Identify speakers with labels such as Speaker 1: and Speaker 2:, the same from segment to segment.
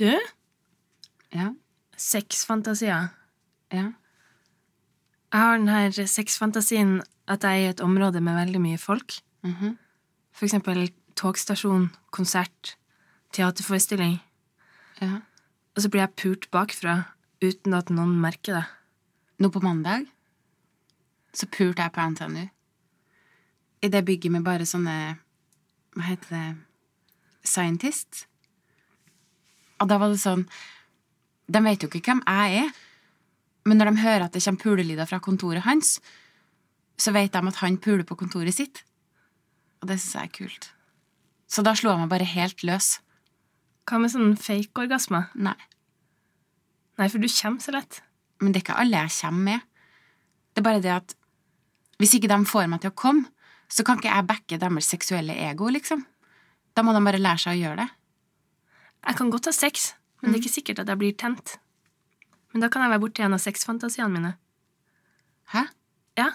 Speaker 1: Du,
Speaker 2: Ja,
Speaker 1: sexfantasier.
Speaker 2: ja.
Speaker 1: Jeg har den her sexfantasien at jeg er i et område med veldig mye folk.
Speaker 2: mhm.
Speaker 1: For eksempel togstasjon, konsert, teaterforestilling.
Speaker 2: ja.
Speaker 1: Og så blir jeg pult bakfra uten at noen merker det.
Speaker 2: Nå på mandag så pulte jeg på NTNU. I det bygget med bare sånne Hva heter det Scientists. Og da var det sånn De vet jo ikke hvem jeg er, men når de hører at det kommer pulelyder fra kontoret hans, så vet de at han puler på kontoret sitt. Og det syns jeg er kult. Så da slo jeg meg bare helt løs.
Speaker 1: Hva med sånn fake orgasme?
Speaker 2: Nei.
Speaker 1: Nei, for du kommer så lett.
Speaker 2: Men det er ikke alle jeg kommer med. Det er bare det at hvis ikke de får meg til å komme, så kan ikke jeg backe deres seksuelle ego, liksom. Da må de bare lære seg å gjøre det.
Speaker 1: Jeg kan godt ha sex, men det er ikke sikkert at jeg blir tent. Men da kan jeg være borti en av sexfantasiene mine.
Speaker 2: Hæ?
Speaker 1: Ja,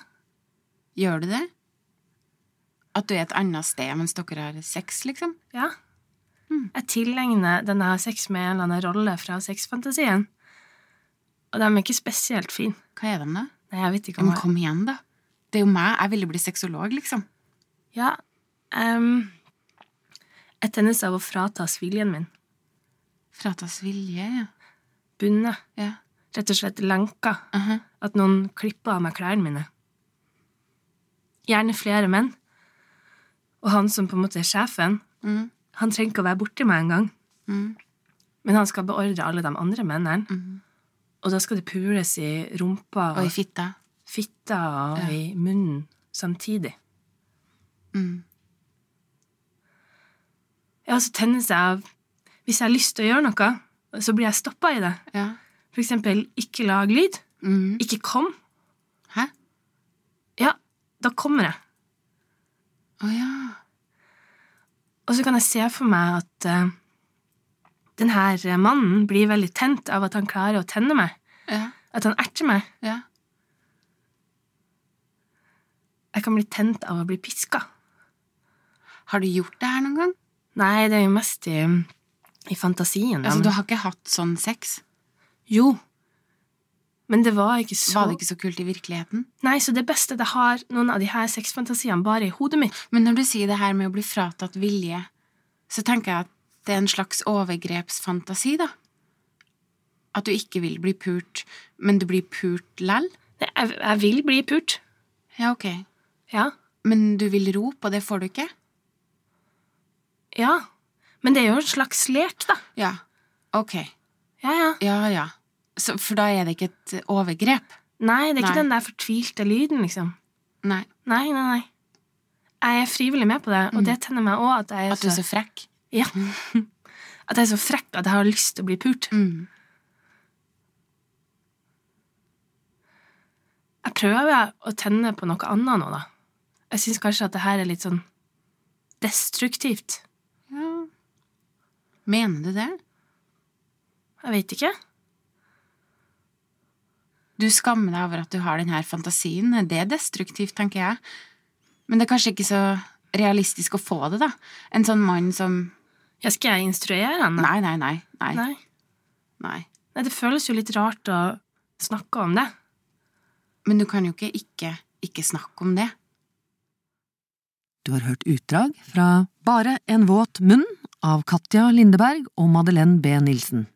Speaker 2: Gjør du det? At du er et annet sted mens dere har sex, liksom?
Speaker 1: ja. Jeg tilegner den jeg har sex med, en eller annen rolle fra sexfantasien. Og de er ikke spesielt fine.
Speaker 2: Hva er de, da?
Speaker 1: Nei, jeg vet ikke
Speaker 2: Ja,
Speaker 1: om
Speaker 2: men kom igjen, da. Det er jo meg. Jeg ville bli sexolog, liksom.
Speaker 1: Ja. ehm, jeg tennes av å fratas viljen min.
Speaker 2: Fratas vilje, ja.
Speaker 1: Bundet.
Speaker 2: ja.
Speaker 1: Rett og slett lenka.
Speaker 2: aha.
Speaker 1: At noen klipper av meg klærne mine. Gjerne flere menn. Og han som på en måte er sjefen,
Speaker 2: Mm.
Speaker 1: han trenger ikke å være borti meg engang.
Speaker 2: Mm.
Speaker 1: Men han skal beordre alle de andre mennene. Og da skal det pules i rumpa og
Speaker 2: Og i
Speaker 1: i
Speaker 2: fitta.
Speaker 1: fitta og i munnen samtidig.
Speaker 2: Mm.
Speaker 1: Ja, så tennes jeg av Hvis jeg har lyst til å gjøre noe, så blir jeg stoppa i det.
Speaker 2: Ja.
Speaker 1: For eksempel ikke lag lyd.
Speaker 2: Mm.
Speaker 1: Ikke kom.
Speaker 2: Hæ?
Speaker 1: Ja, da kommer jeg.
Speaker 2: Å ja.
Speaker 1: Og så kan jeg se for meg at uh, den her mannen blir veldig tent av at han klarer å tenne meg.
Speaker 2: Ja.
Speaker 1: At han erter meg.
Speaker 2: Ja.
Speaker 1: Jeg kan bli tent av å bli piska.
Speaker 2: Har du gjort det her noen gang?
Speaker 1: Nei, det er jo mest i, i fantasien. da,
Speaker 2: Altså,
Speaker 1: men-
Speaker 2: du har ikke hatt sånn sex?
Speaker 1: Jo. Men det var ikke så
Speaker 2: Var det ikke så kult i virkeligheten?
Speaker 1: Nei, så det er best at jeg har noen av de her sexfantasiene bare i hodet mitt.
Speaker 2: Men når du sier det her med å bli fratatt vilje, så tenker jeg at det er en slags overgrepsfantasi, da. At du ikke vil bli pult, men du blir pult lell?
Speaker 1: Nei, jeg, jeg vil bli pult.
Speaker 2: Ja, ok.
Speaker 1: Ja.
Speaker 2: Men du vil rope, og det får du ikke?
Speaker 1: Ja. Men det er jo en slags lek, da.
Speaker 2: Ja. Ok.
Speaker 1: Ja, ja.
Speaker 2: Ja, ja. Så, for da er det ikke et overgrep?
Speaker 1: Nei, det er ikke
Speaker 2: Nei.
Speaker 1: den der fortvilte lyden, liksom.
Speaker 2: Nei.
Speaker 1: Nei, nei, nei. Jeg er frivillig med på det, og det tenner meg òg at jeg er
Speaker 2: Mm. At du er
Speaker 1: så,
Speaker 2: så frekk?
Speaker 1: ja. at jeg er så frekk at jeg har lyst til å bli pult.
Speaker 2: Mm.
Speaker 1: Jeg prøver å tenne på noe annet nå, da. Jeg syns kanskje at det her er litt sånn destruktivt.
Speaker 2: Ja. Mener du det?
Speaker 1: Jeg vet ikke.
Speaker 2: Du skammer deg over at du har denne fantasien. Det er destruktivt, tenker jeg. Men det er kanskje ikke så realistisk å få det, da. En sånn mann som
Speaker 1: Ja, skal jeg instruere henne?
Speaker 2: Nei, nei, nei. Nei. nei.
Speaker 1: Nei. Nei, det føles jo litt rart å snakke om det.
Speaker 2: Men du kan jo ikke ikke, ikke snakke om det.
Speaker 3: Du har hørt utdrag fra Bare en våt munn av Katja Lindeberg og Madeleine B. Nilsen.